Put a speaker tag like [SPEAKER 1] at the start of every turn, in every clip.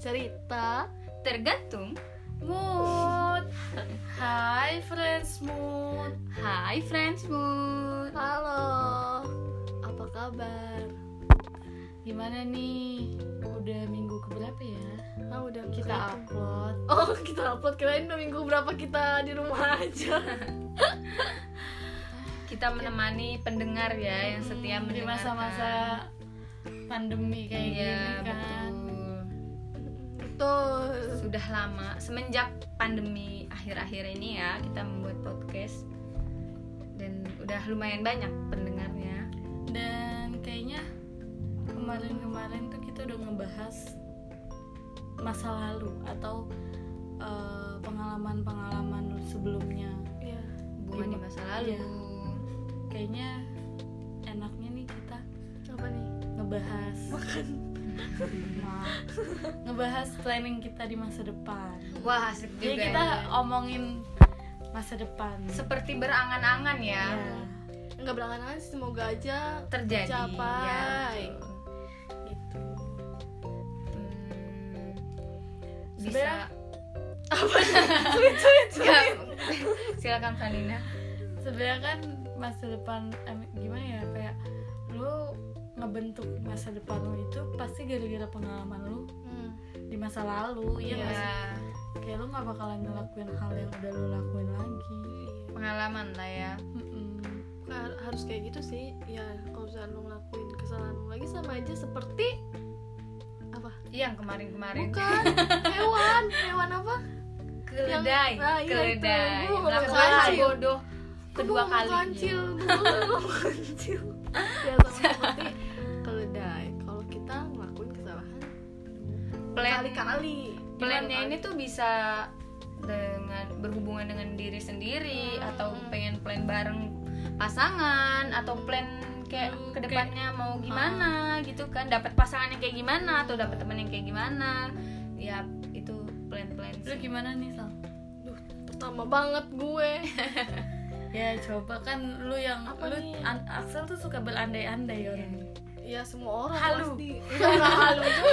[SPEAKER 1] cerita tergantung
[SPEAKER 2] Mood Hai friends mood
[SPEAKER 1] Hai friends mood
[SPEAKER 2] Halo Apa kabar? Gimana nih? Udah minggu keberapa ya?
[SPEAKER 1] Ah udah
[SPEAKER 2] Kita
[SPEAKER 1] kita
[SPEAKER 2] upload Oh kita upload kirain udah minggu berapa kita di rumah aja
[SPEAKER 1] kita menemani pendengar ya yang setia
[SPEAKER 2] Hmm, Di
[SPEAKER 1] mendengarkan.
[SPEAKER 2] masa-masa pandemi kayak
[SPEAKER 1] Iya,
[SPEAKER 2] gini kan
[SPEAKER 1] betul.
[SPEAKER 2] Betul
[SPEAKER 1] Mm, Sudah lama semenjak pandemi akhir-akhir ini ya kita membuat podcast dan udah lumayan banyak pendengarnya.
[SPEAKER 2] Dan kayaknya kemarin-kemarin tuh kita udah ngebahas masa lalu atau eh, pengalaman-pengalaman sebelumnya.
[SPEAKER 1] Hubungan di masa lalu.
[SPEAKER 2] Iya. Kayaknya enaknya nih kita
[SPEAKER 3] apa nih
[SPEAKER 2] ngebahas makan ngebahas planning kita di masa depan.
[SPEAKER 1] Wah, asik juga.
[SPEAKER 2] Jadi Iya, kita
[SPEAKER 1] ya.
[SPEAKER 2] omongin masa depan.
[SPEAKER 1] seperti berangan-angan ya.
[SPEAKER 2] Ya.
[SPEAKER 3] nggak berangan sih semoga aja
[SPEAKER 1] terjadi
[SPEAKER 3] Tercapai.
[SPEAKER 1] ya, betul.
[SPEAKER 2] Gitu.
[SPEAKER 1] Hmm, bisa
[SPEAKER 2] Sebenarnya-
[SPEAKER 1] Nggak, silakan Vanina
[SPEAKER 2] sebenarnya kan masa depan em, gimana ya kayak lu ngebentuk masa depan lu itu pasti gara-gara pengalaman lu
[SPEAKER 3] hmm.
[SPEAKER 2] di masa lalu
[SPEAKER 1] Iya,
[SPEAKER 2] ya nggak sih? kayak lu nggak bakalan ngelakuin hal yang udah lu lakuin lagi
[SPEAKER 1] pengalaman lah ya
[SPEAKER 2] Mm-mm.
[SPEAKER 3] Nah, harus kayak gitu sih ya kalau misalnya lu ngelakuin kesalahan lu lagi sama aja seperti apa
[SPEAKER 1] Iya, yang kemarin-kemarin
[SPEAKER 3] bukan hewan hewan apa
[SPEAKER 1] keledai
[SPEAKER 3] Yang- ah, iya,
[SPEAKER 1] keledai
[SPEAKER 3] itu. Gua
[SPEAKER 1] melakukan
[SPEAKER 3] ngomong
[SPEAKER 1] hal
[SPEAKER 3] kancil.
[SPEAKER 1] bodoh
[SPEAKER 3] Gua
[SPEAKER 1] kedua
[SPEAKER 3] mau
[SPEAKER 1] kalinya
[SPEAKER 3] kancil dulu gua mau kancil ya sama seperti keledai kalau kita ngelakuin kesalahan
[SPEAKER 1] plan
[SPEAKER 3] kali-kali
[SPEAKER 1] plannya ini tuh bisa dengan berhubungan dengan diri sendiri
[SPEAKER 3] Hmm.
[SPEAKER 1] atau pengen plan bareng pasangan atau plan kayak
[SPEAKER 2] Hmm,
[SPEAKER 1] kedepannya mau gimana gitu kan dapat pasangan yang kayak gimana atau dapat teman yang kayak gimana ya itu plan-plan
[SPEAKER 2] lu
[SPEAKER 1] sih.
[SPEAKER 2] gimana nih sal
[SPEAKER 3] pertama banget gue
[SPEAKER 2] ya coba kan lu yang
[SPEAKER 3] Apa
[SPEAKER 2] lu
[SPEAKER 3] nih?
[SPEAKER 2] an- Axel tuh suka berandai-andai ya orangnya.
[SPEAKER 3] ya semua orang
[SPEAKER 2] Halu.
[SPEAKER 3] pasti Iya,
[SPEAKER 2] Nggak, nggak halu juga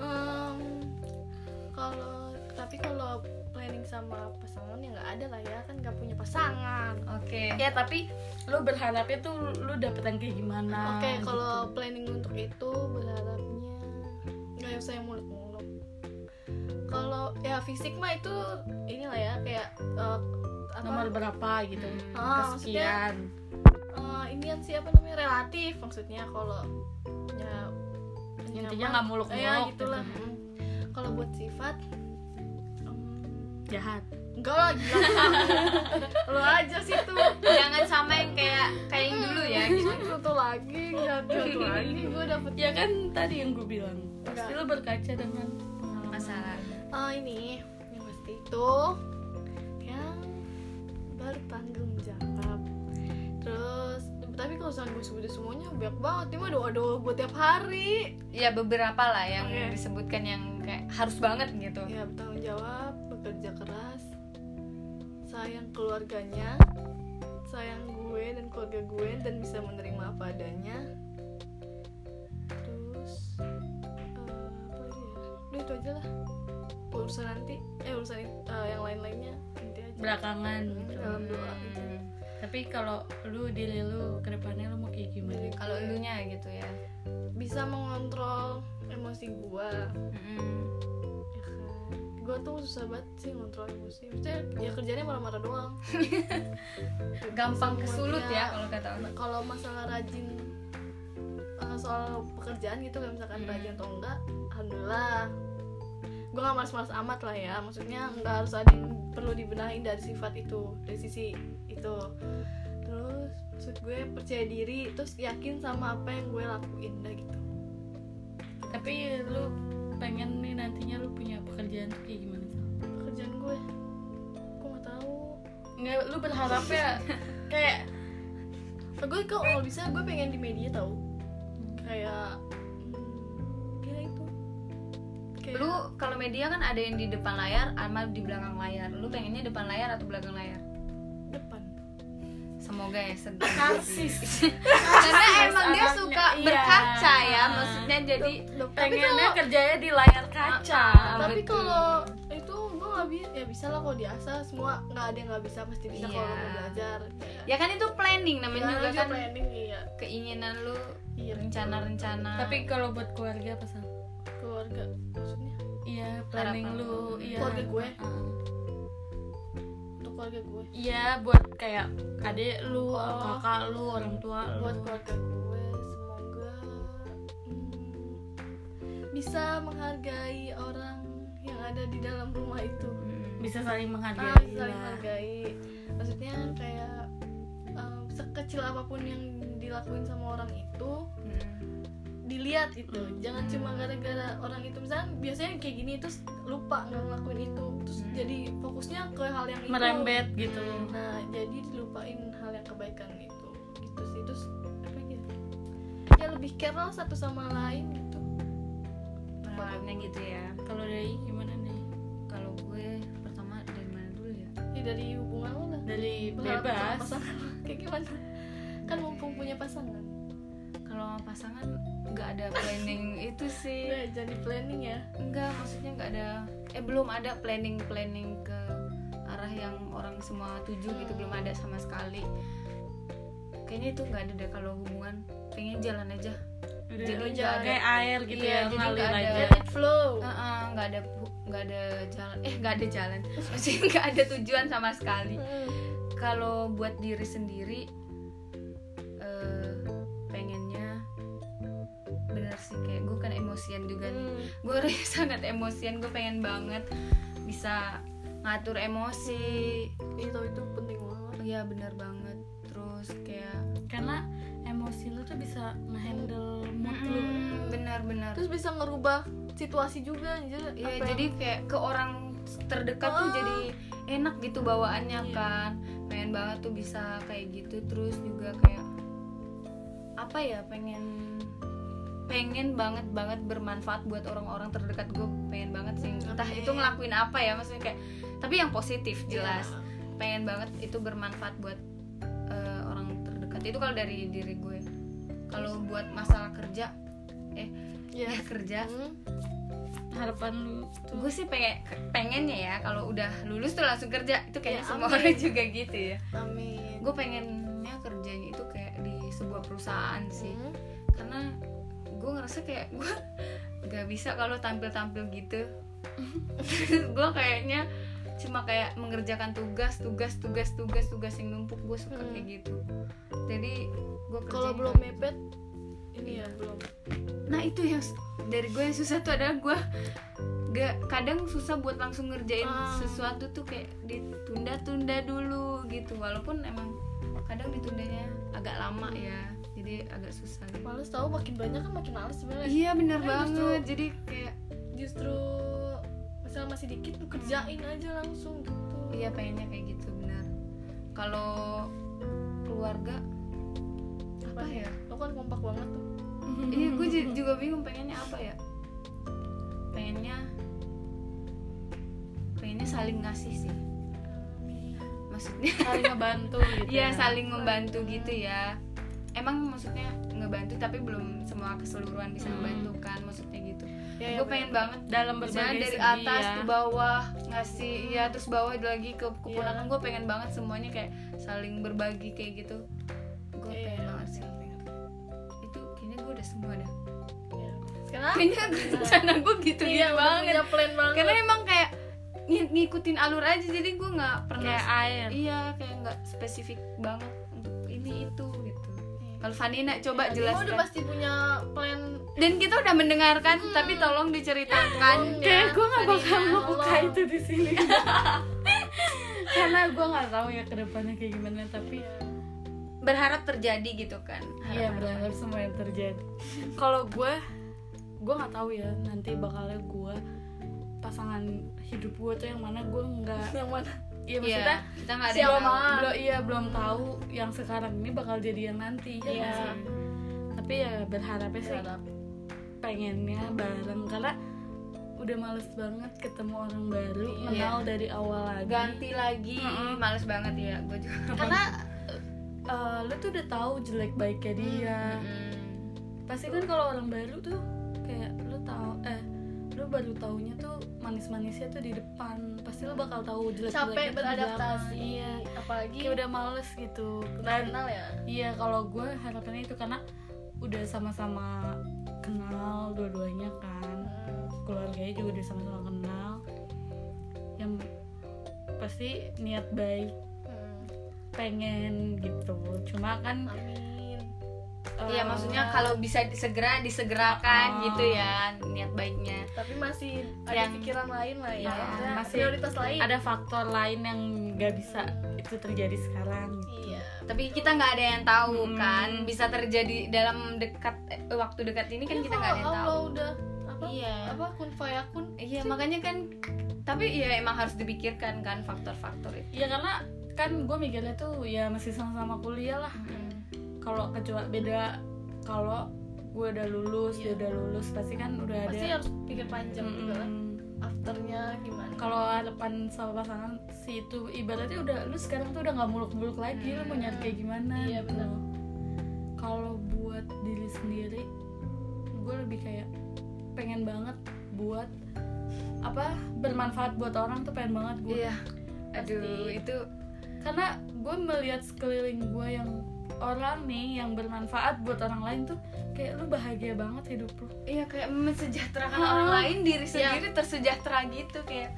[SPEAKER 3] Em, kalau tapi kalau planning sama pasangan ya nggak ada lah ya kan nggak punya pasangan
[SPEAKER 1] oke
[SPEAKER 2] ya tapi lu berharapnya tuh lu dapet yang kayak gimana
[SPEAKER 3] oke
[SPEAKER 2] gitu.
[SPEAKER 3] kalau planning untuk itu berharapnya nggak usah yang muluk-muluk kalau ya fisik mah itu inilah ya kayak eh, apa
[SPEAKER 2] nomor berapa gitu
[SPEAKER 1] Hmm.
[SPEAKER 3] Ah,
[SPEAKER 2] kesekian
[SPEAKER 3] eh, inian sih apa namanya relatif maksudnya kalau ya
[SPEAKER 2] Intinya
[SPEAKER 3] nyaman.
[SPEAKER 2] nggak muluk-muluk
[SPEAKER 3] ya
[SPEAKER 2] gitu.
[SPEAKER 3] gitulah Mm. kalau buat sifat mm,
[SPEAKER 2] jahat
[SPEAKER 3] Enggak lah, gila Lo aja sih tuh Mm,
[SPEAKER 1] jangan sama yang kayak kayak yang dulu ya gitu
[SPEAKER 3] Satu lagi, enggak satu lagi Gue dapet
[SPEAKER 2] ya kan tadi yang gue bilang pasti
[SPEAKER 3] Enggak.
[SPEAKER 2] lo berkaca dengan pengalaman.
[SPEAKER 1] masalah
[SPEAKER 3] Oh ini, yang pasti itu Yang bertanggung jawab Terus, tapi kalau misalnya gue sebutin semuanya banyak banget Ini mah doa-doa gue tiap hari
[SPEAKER 1] ya beberapa lah yang
[SPEAKER 3] Oke.
[SPEAKER 1] disebutkan yang kayak harus banget gitu
[SPEAKER 3] Ya bertanggung jawab, bekerja keras Sayang keluarganya Sayang gue dan keluarga gue Dan bisa menerima apa adanya Terus eh, Apa lagi ya Udah itu aja lah Urusan nanti Eh urusan eh, yang lain-lainnya Nanti aja
[SPEAKER 2] belakangan
[SPEAKER 3] Iya.
[SPEAKER 2] gitu
[SPEAKER 3] Dalam doa gitu.
[SPEAKER 1] Hmm.
[SPEAKER 2] tapi kalau lu diri lu kedepannya lu mau kayak gimana
[SPEAKER 3] Diri-
[SPEAKER 1] kalau elunya gitu ya
[SPEAKER 3] Bisa mengontrol emosi gue
[SPEAKER 1] Mm-mm.
[SPEAKER 3] ya kan Gue tuh susah banget sih ngontrol emosi Maksudnya ya kerjanya marah-marah doang
[SPEAKER 1] gampang
[SPEAKER 3] Semua
[SPEAKER 1] kesulut
[SPEAKER 3] dia-
[SPEAKER 1] ya kalau kata orang
[SPEAKER 3] kalau masalah rajin eh, soal pekerjaan gitu kayak misalkan
[SPEAKER 1] Hmm.
[SPEAKER 3] rajin atau enggak alhamdulillah gue gak malas-malas amat lah ya maksudnya nggak harus ada yang perlu dibenahi dari sifat itu dari sisi itu terus maksud gue percaya diri terus yakin sama apa yang gue lakuin dah gitu
[SPEAKER 2] tapi lu pengen nih nantinya lu punya pekerjaan tuh kayak gimana Sal?
[SPEAKER 3] pekerjaan gue gue gak tahu
[SPEAKER 2] nggak lu berharapnya kayak
[SPEAKER 3] Eh, gue kok kalau bisa gue pengen di media tau kayak hmm, ya itu Kayak-
[SPEAKER 1] lu kalau media kan ada yang di depan layar sama di belakang layar lu pengennya depan layar atau belakang layar
[SPEAKER 3] depan
[SPEAKER 1] semoga ya sedih
[SPEAKER 2] narsis
[SPEAKER 1] karena emang dia
[SPEAKER 2] anaknya.
[SPEAKER 1] suka
[SPEAKER 2] Iya.
[SPEAKER 1] berkaca ya maksudnya pengen jadi
[SPEAKER 3] Dok- tapi
[SPEAKER 2] pengennya
[SPEAKER 3] kalau-
[SPEAKER 2] kerjanya di layar kaca
[SPEAKER 1] Ah,
[SPEAKER 3] tapi
[SPEAKER 1] betul.
[SPEAKER 3] kalau itu gue nggak bisa ya bisa lah kalau di asa semua nggak ada yang nggak bisa pasti bisa kalau
[SPEAKER 1] Iya.
[SPEAKER 3] mau belajar
[SPEAKER 1] ya kan itu planning namanya
[SPEAKER 3] Ya,
[SPEAKER 1] juga
[SPEAKER 3] itu
[SPEAKER 1] kan
[SPEAKER 3] planning iya
[SPEAKER 1] keinginan lu
[SPEAKER 3] iya
[SPEAKER 1] rencana-rencana
[SPEAKER 2] tapi kalau buat keluarga apa Sal?
[SPEAKER 3] keluarga maksudnya
[SPEAKER 2] iya planning
[SPEAKER 1] Harapan
[SPEAKER 2] lu
[SPEAKER 1] lu.
[SPEAKER 2] iya
[SPEAKER 3] Keluarga gue.
[SPEAKER 2] Heeh.
[SPEAKER 3] untuk keluarga gue
[SPEAKER 2] iya buat kayak adik
[SPEAKER 3] Oh.
[SPEAKER 2] lu kakak lu orang tua lu.
[SPEAKER 3] buat keluarga gue semoga hmm, bisa menghargai orang yang ada di dalam rumah itu
[SPEAKER 1] Mm.
[SPEAKER 2] bisa saling menghargai
[SPEAKER 3] ah,
[SPEAKER 1] iya.
[SPEAKER 3] saling
[SPEAKER 2] lah.
[SPEAKER 3] menghargai maksudnya kayak eh, sekecil apapun yang dilakuin sama orang itu
[SPEAKER 1] Mm.
[SPEAKER 3] dilihat gitu jangan cuma gara-gara orang itu misalnya biasanya kayak gini terus lupa nggak ngelakuin itu terus
[SPEAKER 1] Hmm.
[SPEAKER 3] jadi fokusnya ke hal yang itu
[SPEAKER 2] merembet gitu
[SPEAKER 3] nah jadi dilupain hal yang kebaikan itu gitu sih terus apa gitu ya lebih care lah satu sama lain gitu
[SPEAKER 1] Penerapannya gitu ya
[SPEAKER 2] kalau dari gimana nih
[SPEAKER 1] kalau gue pertama dari mana dulu ya
[SPEAKER 3] ya dari hubungan lo lah
[SPEAKER 2] dari
[SPEAKER 3] Berharap sama
[SPEAKER 2] bebas
[SPEAKER 3] pasangan lo. kayak gimana kan mumpung punya pasangan
[SPEAKER 1] kalau sama pasangan nggak ada planning itu sih
[SPEAKER 3] udah jadi planning ya
[SPEAKER 1] enggak maksudnya nggak ada eh belum ada planning planning ke arah yang orang semua tuju gitu belum ada sama sekali kayaknya itu nggak ada deh kalau hubungan pengen jalan aja
[SPEAKER 2] Udah,
[SPEAKER 1] Jadi
[SPEAKER 2] udah
[SPEAKER 1] nggak ada-
[SPEAKER 2] kayak air gitu
[SPEAKER 1] Iya,
[SPEAKER 2] ya
[SPEAKER 1] jadi
[SPEAKER 2] ngalir
[SPEAKER 1] nggak ada-
[SPEAKER 2] aja
[SPEAKER 3] let it flow
[SPEAKER 1] Eh, eh, nggak ada pu- nggak ada jalan eh nggak ada jalan maksudnya nggak ada tujuan sama sekali
[SPEAKER 3] Hmm.
[SPEAKER 1] kalau buat diri sendiri eh, pengennya bener sih kayak gue kan emosian juga nih
[SPEAKER 3] Hmm.
[SPEAKER 1] gue sangat emosian gue pengen banget bisa ngatur emosi
[SPEAKER 3] itu itu penting banget
[SPEAKER 1] Iya bener banget terus kayak
[SPEAKER 2] karena emosi lu tuh bisa ngehandle mood lu
[SPEAKER 1] bener-bener
[SPEAKER 3] terus bisa ngerubah situasi juga anjir
[SPEAKER 1] ya
[SPEAKER 3] Apa yang-
[SPEAKER 1] jadi kayak ke orang terdekat tuh
[SPEAKER 3] Ah.
[SPEAKER 1] jadi enak gitu bawaannya
[SPEAKER 2] Iya.
[SPEAKER 1] kan pengen banget tuh bisa kayak gitu terus juga kayak apa ya pengen pengen banget banget bermanfaat buat orang-orang terdekat gue pengen banget sih
[SPEAKER 3] Hmm,
[SPEAKER 1] entah
[SPEAKER 3] amin.
[SPEAKER 1] itu ngelakuin apa ya maksudnya kayak tapi yang positif jelas
[SPEAKER 3] Iya.
[SPEAKER 1] pengen banget itu bermanfaat buat eh, orang terdekat itu kalau dari diri gue kalau buat masalah kerja ya
[SPEAKER 3] Iya.
[SPEAKER 1] kerja
[SPEAKER 3] Hmm.
[SPEAKER 2] harapan lu tuh
[SPEAKER 1] gue sih pengen pengennya ya kalau udah lulus tuh langsung kerja itu
[SPEAKER 3] Ya,
[SPEAKER 1] kayaknya semua
[SPEAKER 3] amin.
[SPEAKER 1] orang juga gitu ya
[SPEAKER 3] Amin.
[SPEAKER 1] gue pengennya kerjanya itu kayak di sebuah perusahaan sih
[SPEAKER 3] Hmm.
[SPEAKER 1] karena gue ngerasa kayak gue gak bisa kalau tampil-tampil gitu gue kayaknya cuma kayak mengerjakan tugas tugas tugas tugas tugas yang numpuk gue suka
[SPEAKER 3] Hmm.
[SPEAKER 1] kayak gitu jadi gue
[SPEAKER 3] Kalau
[SPEAKER 1] kerjanya gitu.
[SPEAKER 3] belum
[SPEAKER 1] nggak-
[SPEAKER 3] mepet ini ya belum.
[SPEAKER 1] nah itu yang s- dari gue yang susah tuh adalah gue gak kadang susah buat langsung ngerjain
[SPEAKER 3] Ah.
[SPEAKER 1] sesuatu tuh kayak ditunda-tunda dulu gitu walaupun emang kadang ditundanya agak lama ya jadi agak susah gitu.
[SPEAKER 3] Males tahu makin banyak kan makin males sebenarnya.
[SPEAKER 1] iya bener
[SPEAKER 3] Kan
[SPEAKER 1] banget
[SPEAKER 3] justru-
[SPEAKER 1] jadi kayak
[SPEAKER 3] Justru misalnya masih dikit lu kerjain aja langsung gitu.
[SPEAKER 1] iya pengennya kayak gitu benar kalau keluarga apa ya
[SPEAKER 3] Lo kan kompak banget tuh.
[SPEAKER 1] iya gue ju- juga bingung pengennya apa ya pengennya pengennya saling ngasih sih maksudnya
[SPEAKER 2] saling ngebantu gitu
[SPEAKER 1] Iya saling membantu gitu ya Emang maksudnya ngebantu tapi belum semua keseluruhan bisa
[SPEAKER 2] Hmm.
[SPEAKER 1] membantu kan maksudnya gitu
[SPEAKER 3] Ya,
[SPEAKER 1] Gue pengen banget
[SPEAKER 2] dalam
[SPEAKER 1] Misalnya
[SPEAKER 2] berbagai
[SPEAKER 1] dari
[SPEAKER 2] segi
[SPEAKER 1] atas
[SPEAKER 2] ya. Hmm.
[SPEAKER 1] ke bawah ngasih ya terus bawah lagi ke keponakan
[SPEAKER 3] Iya.
[SPEAKER 1] gue pengen banget semuanya kayak saling berbagi kayak gitu gue
[SPEAKER 3] Iya,
[SPEAKER 1] pengen
[SPEAKER 3] iya.
[SPEAKER 1] banget sih itu kayaknya gue udah semua dah
[SPEAKER 3] Ya. Sekarang
[SPEAKER 1] kayaknya rencana gue gitu
[SPEAKER 3] iya,
[SPEAKER 1] gitu
[SPEAKER 3] udah
[SPEAKER 1] banget
[SPEAKER 3] punya plan banget.
[SPEAKER 1] karena emang kayak ng- ngikutin alur aja jadi gue nggak pernah
[SPEAKER 2] kayak air
[SPEAKER 1] iya kayak nggak spesifik banget untuk ini itu gitu
[SPEAKER 3] Iya.
[SPEAKER 1] kalau Vanina coba
[SPEAKER 3] Kamu
[SPEAKER 1] jelaskan
[SPEAKER 3] udah pasti punya plan
[SPEAKER 1] dan kita udah mendengarkan tapi tolong diceritakan
[SPEAKER 3] Kayak
[SPEAKER 2] gue gak bakal
[SPEAKER 3] Tadinya,
[SPEAKER 2] membuka
[SPEAKER 3] tolong.
[SPEAKER 2] itu di sini karena gue nggak tahu ya kedepannya kayak gimana tapi
[SPEAKER 1] berharap terjadi gitu kan
[SPEAKER 2] Iya berharap semua yang terjadi. Kalau gue, gue nggak tahu ya nanti bakalnya gue pasangan hidup gue tuh yang mana gue nggak.
[SPEAKER 3] yang mana?
[SPEAKER 1] iya
[SPEAKER 2] Iya maksudnya
[SPEAKER 1] kita nggak ada
[SPEAKER 2] belum
[SPEAKER 1] yang tahu.
[SPEAKER 2] belum iya belum tahu yang sekarang ini bakal jadi yang nanti. ya
[SPEAKER 3] Iya.
[SPEAKER 2] nggak sih? Tapi ya berharapnya sih
[SPEAKER 3] Berharap.
[SPEAKER 2] pengennya bareng karena udah males banget ketemu orang baru,
[SPEAKER 1] Iya.
[SPEAKER 2] kenal dari awal lagi.
[SPEAKER 1] ganti lagi
[SPEAKER 2] Mm-mm.
[SPEAKER 1] males banget ya gue juga
[SPEAKER 2] Karena
[SPEAKER 1] Hmm,
[SPEAKER 2] eh, lu tuh udah tahu jelek baiknya dia.
[SPEAKER 1] Mm-mm.
[SPEAKER 2] Pasti kan kalau orang baru tuh eh, baru taunya tuh manis-manisnya tuh di depan pasti lo bakal tahu jelek
[SPEAKER 3] capek beradaptasi
[SPEAKER 2] iya
[SPEAKER 3] apalagi
[SPEAKER 2] kayak udah males gitu
[SPEAKER 3] udah
[SPEAKER 2] dan
[SPEAKER 3] kenal ya
[SPEAKER 2] iya kalau gue harapannya itu karena udah sama-sama kenal dua-duanya kan
[SPEAKER 1] Hmm.
[SPEAKER 2] keluarganya juga udah sama-sama kenal yang pasti niat baik
[SPEAKER 3] Hmm,
[SPEAKER 2] pengen gitu cuma kan
[SPEAKER 3] amin
[SPEAKER 1] Iya
[SPEAKER 2] eh,
[SPEAKER 1] maksudnya kalau bisa segera disegerakan
[SPEAKER 2] Oh.
[SPEAKER 1] gitu ya niat baiknya.
[SPEAKER 3] tapi masih ada
[SPEAKER 1] Yang-
[SPEAKER 3] pikiran lain lah ya,
[SPEAKER 1] Iya,
[SPEAKER 3] Maksudnya
[SPEAKER 2] masih
[SPEAKER 3] prioritas lain
[SPEAKER 2] ada faktor lain yang nggak bisa itu terjadi sekarang gitu.
[SPEAKER 3] iya
[SPEAKER 1] Tapi kita nggak ada yang tahu
[SPEAKER 2] Hmm.
[SPEAKER 1] kan bisa terjadi dalam dekat eh, waktu dekat ini kan
[SPEAKER 3] Iya,
[SPEAKER 1] kita nggak ada yang
[SPEAKER 3] kalau
[SPEAKER 1] tahu.
[SPEAKER 3] Allah udah apa
[SPEAKER 1] Iya.
[SPEAKER 3] apa kun fayakun
[SPEAKER 1] Iya makanya kan tapi ya emang harus dipikirkan kan faktor-faktor itu.
[SPEAKER 2] ya karena kan gue mikirnya tuh ya masih sama-sama kuliah lah kalau kecuali beda kalau gue udah lulus dia udah lulus pasti kan udah
[SPEAKER 3] pasti
[SPEAKER 2] ada
[SPEAKER 3] harus pikir panjang
[SPEAKER 2] Mm-mm.
[SPEAKER 3] juga lah afternya gimana
[SPEAKER 2] kalau harapan sama pasangan si itu ibaratnya udah lu sekarang tuh udah nggak muluk-muluk lagi lu mau nyari kayak gimana
[SPEAKER 3] Iya,
[SPEAKER 2] gitu.
[SPEAKER 3] benar.
[SPEAKER 2] kalau buat diri sendiri gue lebih kayak pengen banget buat apa bermanfaat buat orang tuh pengen banget gue
[SPEAKER 1] Iya. Aduh
[SPEAKER 2] Pasti.
[SPEAKER 1] itu
[SPEAKER 2] karena gue melihat sekeliling gue yang orang nih yang bermanfaat buat orang lain tuh kayak lu bahagia banget hidup lu
[SPEAKER 1] iya kayak mensejahterakan
[SPEAKER 2] Ha-ha.
[SPEAKER 1] orang lain diri
[SPEAKER 3] Iya.
[SPEAKER 1] sendiri tersejahtera gitu kayak.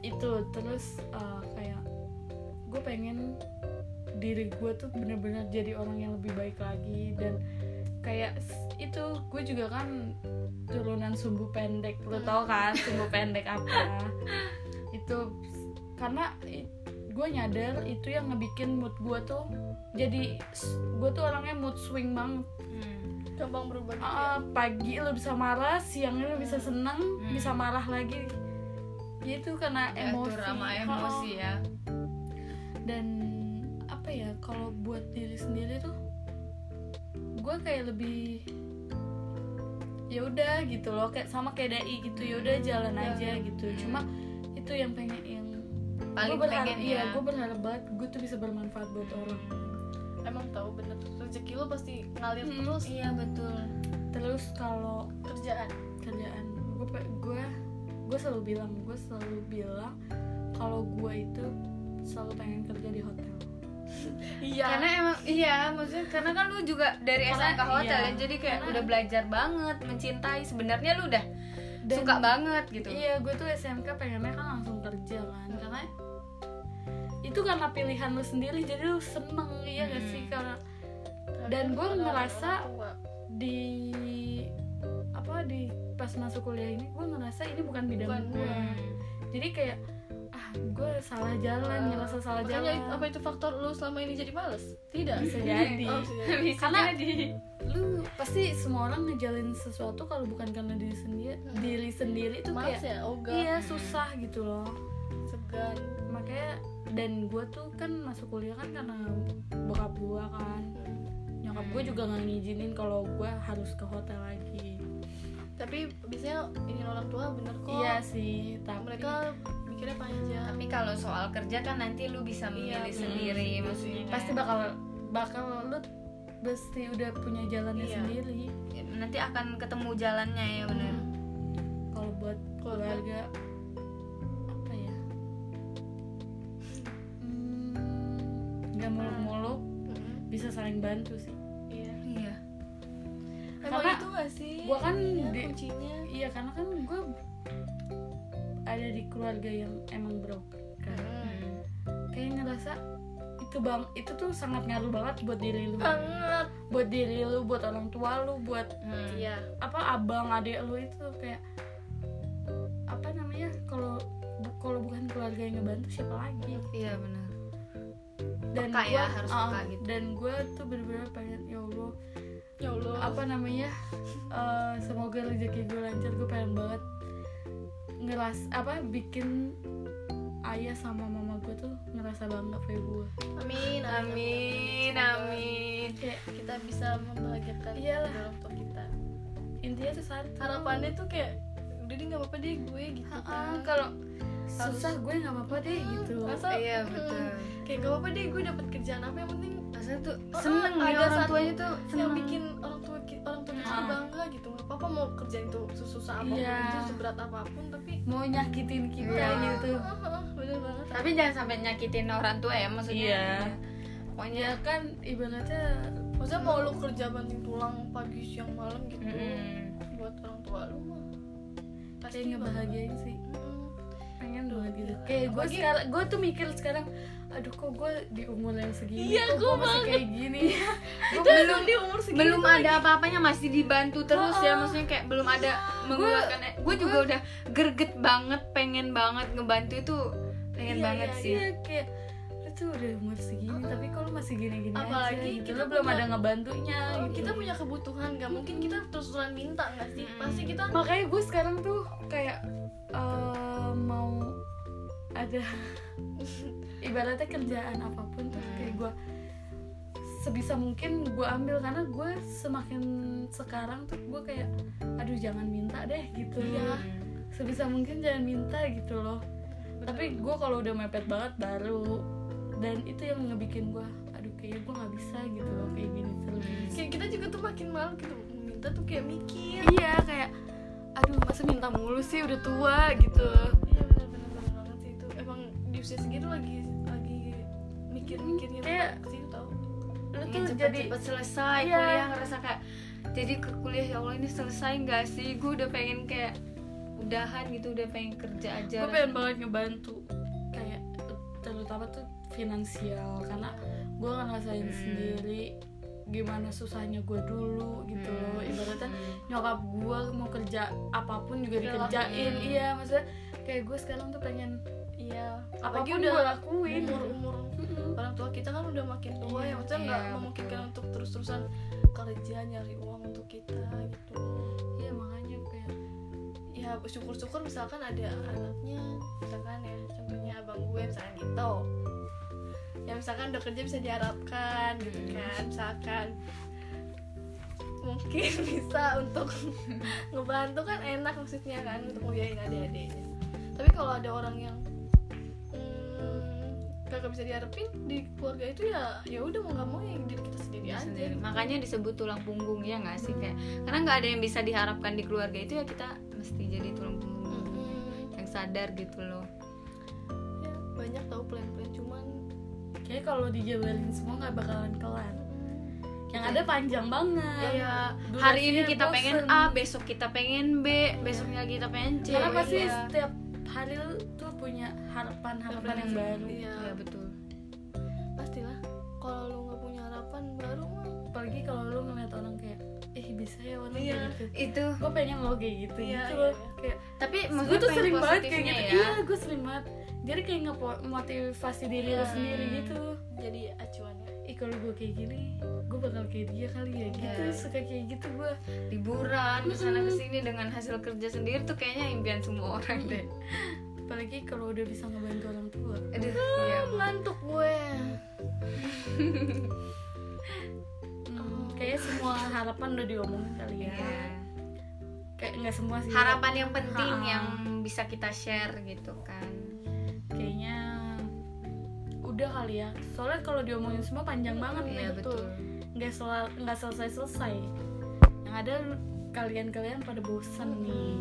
[SPEAKER 2] itu terus uh, kayak gue pengen diri gue tuh bener-bener jadi orang yang lebih baik lagi dan kayak s- itu gue juga kan turunan sumbu pendek lo tau kan sumbu pendek apa itu s- karena gue nyadar itu yang ngebikin mood gue tuh jadi gue tuh orangnya mood swing banget Hmm,
[SPEAKER 3] gampang berubah gitu ya.
[SPEAKER 2] Ah, pagi lo bisa marah siangnya lo bisa seneng
[SPEAKER 1] Hmm.
[SPEAKER 2] bisa marah lagi Ya itu karena emosi
[SPEAKER 1] Diatur sama
[SPEAKER 2] Ah,
[SPEAKER 1] emosi ya.
[SPEAKER 2] dan apa ya kalau buat diri sendiri tuh gue kayak lebih ya udah gitu loh kayak sama kayak dai gitu ya
[SPEAKER 1] Hmm.
[SPEAKER 2] udah jalan
[SPEAKER 1] Iya,
[SPEAKER 3] Ya.
[SPEAKER 2] aja gitu cuma itu yang pengen yang
[SPEAKER 1] Paling
[SPEAKER 2] gua berharap-
[SPEAKER 1] pengen
[SPEAKER 2] iya
[SPEAKER 1] ya.
[SPEAKER 2] gue berharap banget gue tuh bisa bermanfaat buat orang
[SPEAKER 3] emang tahu bener rezeki lo pasti ngalir
[SPEAKER 2] Mm-mm.
[SPEAKER 3] terus
[SPEAKER 1] Iya betul.
[SPEAKER 2] terus kalau
[SPEAKER 3] kerjaan
[SPEAKER 2] kerjaan gue gue gue selalu bilang gue selalu bilang kalau gue itu selalu pengen kerja di hotel
[SPEAKER 3] iya
[SPEAKER 1] Karena emang iya maksudnya karena kan lu juga dari
[SPEAKER 2] Karena-
[SPEAKER 1] SMK ke hotel
[SPEAKER 2] iya.
[SPEAKER 1] ya, jadi kayak
[SPEAKER 2] Karena-
[SPEAKER 1] udah belajar banget mencintai sebenarnya lu udah
[SPEAKER 2] Dan-
[SPEAKER 1] suka banget gitu.
[SPEAKER 2] iya gue tuh SMK pengennya kan langsung kerja kan karena itu karena pilihan lu sendiri jadi lu seneng iya gak
[SPEAKER 1] Hmm.
[SPEAKER 2] sih karena dan
[SPEAKER 3] Kadang
[SPEAKER 2] gue
[SPEAKER 3] orang-
[SPEAKER 2] ngerasa
[SPEAKER 3] orang tua.
[SPEAKER 2] di apa di pas masuk kuliah ini gue ngerasa ini bukan bidang
[SPEAKER 3] Bukan
[SPEAKER 2] gue
[SPEAKER 1] Hmm.
[SPEAKER 2] jadi kayak ah gue salah jalan ngerasa salah
[SPEAKER 3] Makanya
[SPEAKER 2] jalan
[SPEAKER 3] apa itu faktor lu selama ini jadi males? Tidak.
[SPEAKER 2] bisa jadi
[SPEAKER 3] Oh, bisa jadi.
[SPEAKER 2] Hmm. Karena-
[SPEAKER 1] jadi
[SPEAKER 2] lu pasti semua orang ngejalin sesuatu kalau bukan karena diri sendiri
[SPEAKER 3] Hmm.
[SPEAKER 2] diri sendiri itu
[SPEAKER 3] Males
[SPEAKER 2] kayak
[SPEAKER 3] ya, ogah,
[SPEAKER 2] iya
[SPEAKER 1] Hmm.
[SPEAKER 2] susah gitu loh
[SPEAKER 3] segan.
[SPEAKER 2] makanya dan gue tuh kan masuk kuliah kan karena bokap gue kan
[SPEAKER 3] Hmm.
[SPEAKER 2] nyokap gue juga nggak ngizinin kalau gue harus ke hotel lagi
[SPEAKER 3] Tapi biasanya ini orang tua bener kok.
[SPEAKER 2] iya sih tapi
[SPEAKER 3] Mereka mikirnya panjang.
[SPEAKER 1] tapi kalau soal kerja kan nanti lu bisa
[SPEAKER 3] bener.
[SPEAKER 1] memilih sendiri
[SPEAKER 3] Iya
[SPEAKER 1] maksudnya
[SPEAKER 3] sih.
[SPEAKER 1] kayak-
[SPEAKER 2] pasti bakal bakal lu pasti udah punya jalannya
[SPEAKER 3] Iya.
[SPEAKER 2] sendiri
[SPEAKER 1] nanti akan ketemu jalannya ya benar.
[SPEAKER 2] kalau buat
[SPEAKER 3] Keluarga.
[SPEAKER 2] keluarga apa ya Hmm, nggak muluk-muluk
[SPEAKER 3] Mm-mm.
[SPEAKER 2] bisa saling bantu sih
[SPEAKER 3] Iya.
[SPEAKER 1] Iya.
[SPEAKER 3] Emang
[SPEAKER 2] Karena
[SPEAKER 3] itu gak sih?
[SPEAKER 2] gua kan
[SPEAKER 3] Iya,
[SPEAKER 2] di-
[SPEAKER 3] kuncinya.
[SPEAKER 2] iya karena kan gue ada di keluarga yang emang broken kan
[SPEAKER 1] Hmm.
[SPEAKER 3] Mm.
[SPEAKER 2] kayak ngerasa itu bang itu tuh sangat ngaruh banget buat diri lu
[SPEAKER 3] Banget.
[SPEAKER 2] buat diri lu buat orang tua lu buat
[SPEAKER 1] Hmm.
[SPEAKER 3] Iya.
[SPEAKER 2] apa abang adik lu itu kayak apa namanya kalau bu- kalau bukan keluarga yang ngebantu siapa lagi
[SPEAKER 1] Iya benar.
[SPEAKER 2] dan
[SPEAKER 1] Peka ya,
[SPEAKER 2] gua-
[SPEAKER 1] harus
[SPEAKER 2] ah,
[SPEAKER 1] peka gitu.
[SPEAKER 2] dan gue tuh bener-bener pengen ya allah
[SPEAKER 3] Ya Allah.
[SPEAKER 2] apa namanya eh, semoga rezeki gue lancar gue pengen banget ngeras apa bikin ayah sama mama gue tuh ngerasa bangga kayak gue
[SPEAKER 3] Amin.
[SPEAKER 1] Amin amin.
[SPEAKER 2] kayak
[SPEAKER 3] Kita bisa membahagiakan
[SPEAKER 2] Iyalah.
[SPEAKER 3] orang tua kita.
[SPEAKER 2] intinya tuh satu
[SPEAKER 3] Harapannya tuh kayak udah deh nggak apa-apa deh gue gitu
[SPEAKER 2] Ah,
[SPEAKER 3] kan.
[SPEAKER 2] kalau susah gue nggak apa-apa deh gitu
[SPEAKER 3] Masa-
[SPEAKER 1] Iya
[SPEAKER 3] Mm.
[SPEAKER 1] betul.
[SPEAKER 3] kayak gak apa-apa deh gue dapet kerjaan apa yang penting
[SPEAKER 1] Maksudnya tuh
[SPEAKER 3] Oh,
[SPEAKER 1] seneng
[SPEAKER 3] ada
[SPEAKER 1] ya orang
[SPEAKER 3] satu
[SPEAKER 1] tuanya tuh
[SPEAKER 3] yang
[SPEAKER 1] seneng.
[SPEAKER 3] bikin orang tua ki- orang tua kita
[SPEAKER 2] Ah.
[SPEAKER 3] bangga gitu nggak apa-apa mau kerjain tuh susah apapun
[SPEAKER 2] Iya.
[SPEAKER 3] itu seberat apapun tapi
[SPEAKER 2] mau nyakitin kita
[SPEAKER 1] Iya.
[SPEAKER 2] gitu
[SPEAKER 3] Ah, ah, ah, bener banget
[SPEAKER 1] tapi jangan sampai nyakitin orang tua ya maksudnya
[SPEAKER 2] Iya.
[SPEAKER 1] pokoknya
[SPEAKER 2] ya kan ibaratnya
[SPEAKER 3] maksudnya mau lu kerja banting tulang pagi siang malam gitu
[SPEAKER 1] Mm-mm.
[SPEAKER 3] buat orang tua lu mah
[SPEAKER 2] kayak ngebahagiain sih
[SPEAKER 3] Mm.
[SPEAKER 2] pengen banget gitu
[SPEAKER 3] Iya.
[SPEAKER 2] kayak gue
[SPEAKER 3] Apalagi-
[SPEAKER 2] sekarang gue tuh mikir sekarang aduh kok gue di umur yang segini
[SPEAKER 3] Iya,
[SPEAKER 2] kok gue
[SPEAKER 3] gua
[SPEAKER 2] masih kayak gini
[SPEAKER 1] Gua
[SPEAKER 3] itu
[SPEAKER 1] belum
[SPEAKER 3] emang di umur segitu Gitu.
[SPEAKER 1] belum ada apa-apanya masih dibantu terus ya maksudnya kayak belum ada mengeluarkan gue juga udah gerget banget pengen banget ngebantu itu pengen
[SPEAKER 3] Iya,
[SPEAKER 1] banget
[SPEAKER 3] iya,
[SPEAKER 1] sih
[SPEAKER 2] iya kayak lu tuh udah umur segini tapi kok lu masih gini-gini
[SPEAKER 3] Apalagi
[SPEAKER 2] aja gitu
[SPEAKER 3] kita
[SPEAKER 2] lu belum
[SPEAKER 3] punya-
[SPEAKER 2] ada ngebantunya
[SPEAKER 3] Kalau
[SPEAKER 2] gitu.
[SPEAKER 3] kita punya kebutuhan nggak mungkin kita terus terusan minta nggak sih
[SPEAKER 1] Mm.
[SPEAKER 3] pasti kita
[SPEAKER 2] makanya gue sekarang tuh kayak eh, mau ada ibaratnya kerjaan apapun tuh
[SPEAKER 1] Hmm.
[SPEAKER 2] kayak gue sebisa mungkin gue ambil karena gue semakin sekarang tuh gue kayak aduh jangan minta deh gitu
[SPEAKER 3] Iya.
[SPEAKER 1] Hmm.
[SPEAKER 2] sebisa mungkin jangan minta gitu loh tapi gue kalau udah mepet banget baru dan itu yang ngebikin gue aduh kayaknya gue nggak bisa gitu loh kayak gini terus
[SPEAKER 3] kayak kita juga tuh makin malu gitu minta tuh kayak mikir
[SPEAKER 2] iya kayak aduh masa minta mulu sih udah tua gitu
[SPEAKER 3] iya benar-benar benar banget sih itu emang di usia segitu lagi lagi mikir-mikirnya
[SPEAKER 2] Kayak-
[SPEAKER 3] sih tau
[SPEAKER 2] lu tuh
[SPEAKER 1] Pengen
[SPEAKER 2] jadi
[SPEAKER 1] cepet-cepet selesai
[SPEAKER 2] Iya.
[SPEAKER 1] kuliah ngerasa kayak jadi ke kuliah ya Allah ini selesai nggak sih gue udah pengen kayak udahan gitu udah pengen kerja aja
[SPEAKER 2] gue pengen banget ngebantu kayak terutama tuh finansial karena gue ngerasain
[SPEAKER 1] Hmm.
[SPEAKER 2] sendiri gimana susahnya gue dulu gitu
[SPEAKER 1] Hmm.
[SPEAKER 2] loh ibaratnya
[SPEAKER 1] Hmm.
[SPEAKER 2] nyokap gue mau kerja apapun juga
[SPEAKER 3] Udah
[SPEAKER 2] dikerjain
[SPEAKER 1] lakuin.
[SPEAKER 2] iya maksudnya kayak gue sekarang tuh pengen
[SPEAKER 3] iya
[SPEAKER 2] apapun
[SPEAKER 3] apalagi
[SPEAKER 2] udah
[SPEAKER 3] udah
[SPEAKER 2] lakuin
[SPEAKER 3] umur umur orang tua kita kan udah makin tua
[SPEAKER 1] Iya,
[SPEAKER 3] ya maksudnya nggak
[SPEAKER 1] iya,
[SPEAKER 3] memungkinkan untuk terus-terusan kerja nyari uang untuk kita gitu
[SPEAKER 2] iya makanya kayak
[SPEAKER 3] ya syukur-syukur misalkan ada anaknya misalkan ya contohnya abang gue misalkan gitu ya misalkan udah kerja bisa diharapkan gitu
[SPEAKER 1] Hmm.
[SPEAKER 3] kan misalkan mungkin bisa untuk ngebantu kan enak maksudnya kan untuk ngebiayain adik-adiknya tapi kalau ada orang yang hmm, kagak bisa diharapin di keluarga itu ya ya udah mau nggak mau ya diri kita sendiri
[SPEAKER 1] Ya,
[SPEAKER 3] aja
[SPEAKER 1] sendiri. makanya disebut tulang punggung ya nggak sih kayak karena nggak ada yang bisa diharapkan di keluarga itu ya kita mesti jadi tulang punggung
[SPEAKER 3] Mm-mm.
[SPEAKER 1] yang sadar gitu loh
[SPEAKER 3] Hmm. Ya, banyak tahu plan-plan cuman
[SPEAKER 2] kayak kalau dijabarin semua nggak bakalan kelar yang ada panjang banget
[SPEAKER 1] Iya,
[SPEAKER 2] Durasinya
[SPEAKER 1] hari ini kita
[SPEAKER 2] bosen.
[SPEAKER 1] pengen A, besok kita pengen B, besoknya kita pengen C.
[SPEAKER 2] karena
[SPEAKER 3] Iya.
[SPEAKER 2] pasti setiap hari lu tuh punya harapan harapan yang baru
[SPEAKER 3] Iya.
[SPEAKER 1] Iya, betul.
[SPEAKER 3] pastilah kalau lu nggak punya harapan baru mah
[SPEAKER 2] apalagi kalau lu ngeliat orang kayak eh bisa ya orang
[SPEAKER 3] Iya.
[SPEAKER 2] kayak gitu
[SPEAKER 1] Itu.
[SPEAKER 2] gue pengen lo kayak gitu
[SPEAKER 3] Iya,
[SPEAKER 2] gitu
[SPEAKER 3] iya,
[SPEAKER 2] loh
[SPEAKER 3] iya.
[SPEAKER 2] kayak
[SPEAKER 1] Tapi
[SPEAKER 2] gue
[SPEAKER 1] maksudnya
[SPEAKER 2] tuh
[SPEAKER 1] pengen
[SPEAKER 2] sering banget kayak
[SPEAKER 1] positifnya
[SPEAKER 2] gitu
[SPEAKER 1] ya.
[SPEAKER 2] iya gue sering banget jadi kayak ngemotivasi diri lo
[SPEAKER 3] Iya.
[SPEAKER 2] sendiri gitu
[SPEAKER 3] jadi ya. acuannya
[SPEAKER 2] ih kalau gue kayak gini gue bakal kayak dia kali ya gitu
[SPEAKER 1] Iya.
[SPEAKER 2] suka kayak gitu gue
[SPEAKER 1] Liburan ke sana ke
[SPEAKER 2] Mm-mm.
[SPEAKER 1] sini dengan hasil kerja sendiri tuh kayaknya impian semua orang deh.
[SPEAKER 2] apalagi kalau udah bisa ngebantu orang tua
[SPEAKER 1] Aduh, iya.
[SPEAKER 3] ngantuk gue
[SPEAKER 2] hmm, kayaknya semua harapan udah diomongin kali ya
[SPEAKER 1] Iya.
[SPEAKER 2] kayak nggak semua sih
[SPEAKER 1] Harapan yang penting
[SPEAKER 2] Ha-ha.
[SPEAKER 1] yang bisa kita share gitu kan.
[SPEAKER 2] kayaknya udah kali ya soalnya kalau diomongin semua panjang banget nih gitu.
[SPEAKER 1] Iya, betul.
[SPEAKER 2] nggak sel- nggak selesai selesai yang ada lu- kalian-kalian pada bosan nih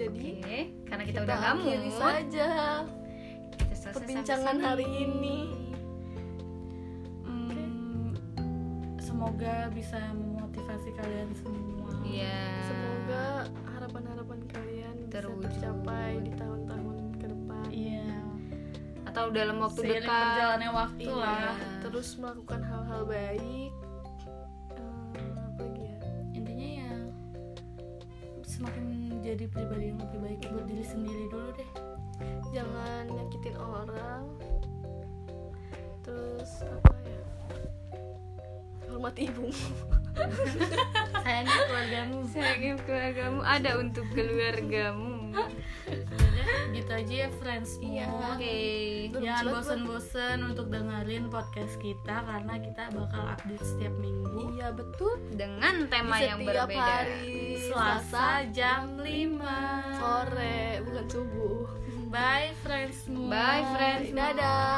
[SPEAKER 3] jadi
[SPEAKER 1] Oke, karena kita udah kamu.
[SPEAKER 3] Iya. akhiri saja
[SPEAKER 1] Kita selesai sampai
[SPEAKER 3] perbincangan
[SPEAKER 1] sini.
[SPEAKER 3] hari ini
[SPEAKER 2] Hmm, semoga bisa memotivasi kalian semua
[SPEAKER 1] Iya.
[SPEAKER 3] semoga harapan-harapan kalian
[SPEAKER 1] Terwujud.
[SPEAKER 3] bisa tercapai di tahun-tahun ke depan
[SPEAKER 2] iya
[SPEAKER 1] atau dalam waktu
[SPEAKER 2] Seiring
[SPEAKER 1] dekat.
[SPEAKER 2] perjalannya waktu
[SPEAKER 3] Iya,
[SPEAKER 2] lah
[SPEAKER 3] terus melakukan hal-hal baik Eh, apa lagi ya
[SPEAKER 2] intinya ya semakin jadi pribadi yang lebih baik buat diri sendiri dulu deh
[SPEAKER 3] jangan nyakitin orang terus apa ya hormati ibumu
[SPEAKER 2] sayangnya keluargamu
[SPEAKER 1] Sayangnya keluargamu ada untuk keluargamu.
[SPEAKER 2] gitu aja ya friends
[SPEAKER 3] Iya.
[SPEAKER 2] semua.
[SPEAKER 1] Oke.
[SPEAKER 2] Jangan bosen-bosen untuk dengerin podcast kita karena kita bakal update setiap minggu.
[SPEAKER 3] iya betul
[SPEAKER 1] Dengan tema
[SPEAKER 3] Di
[SPEAKER 1] yang
[SPEAKER 3] setiap
[SPEAKER 1] berbeda.
[SPEAKER 3] hari
[SPEAKER 2] Selasa jam 5.
[SPEAKER 3] sore bukan subuh
[SPEAKER 2] Bye friends. semua.
[SPEAKER 1] Bye friends.
[SPEAKER 3] dadah
[SPEAKER 1] Nah,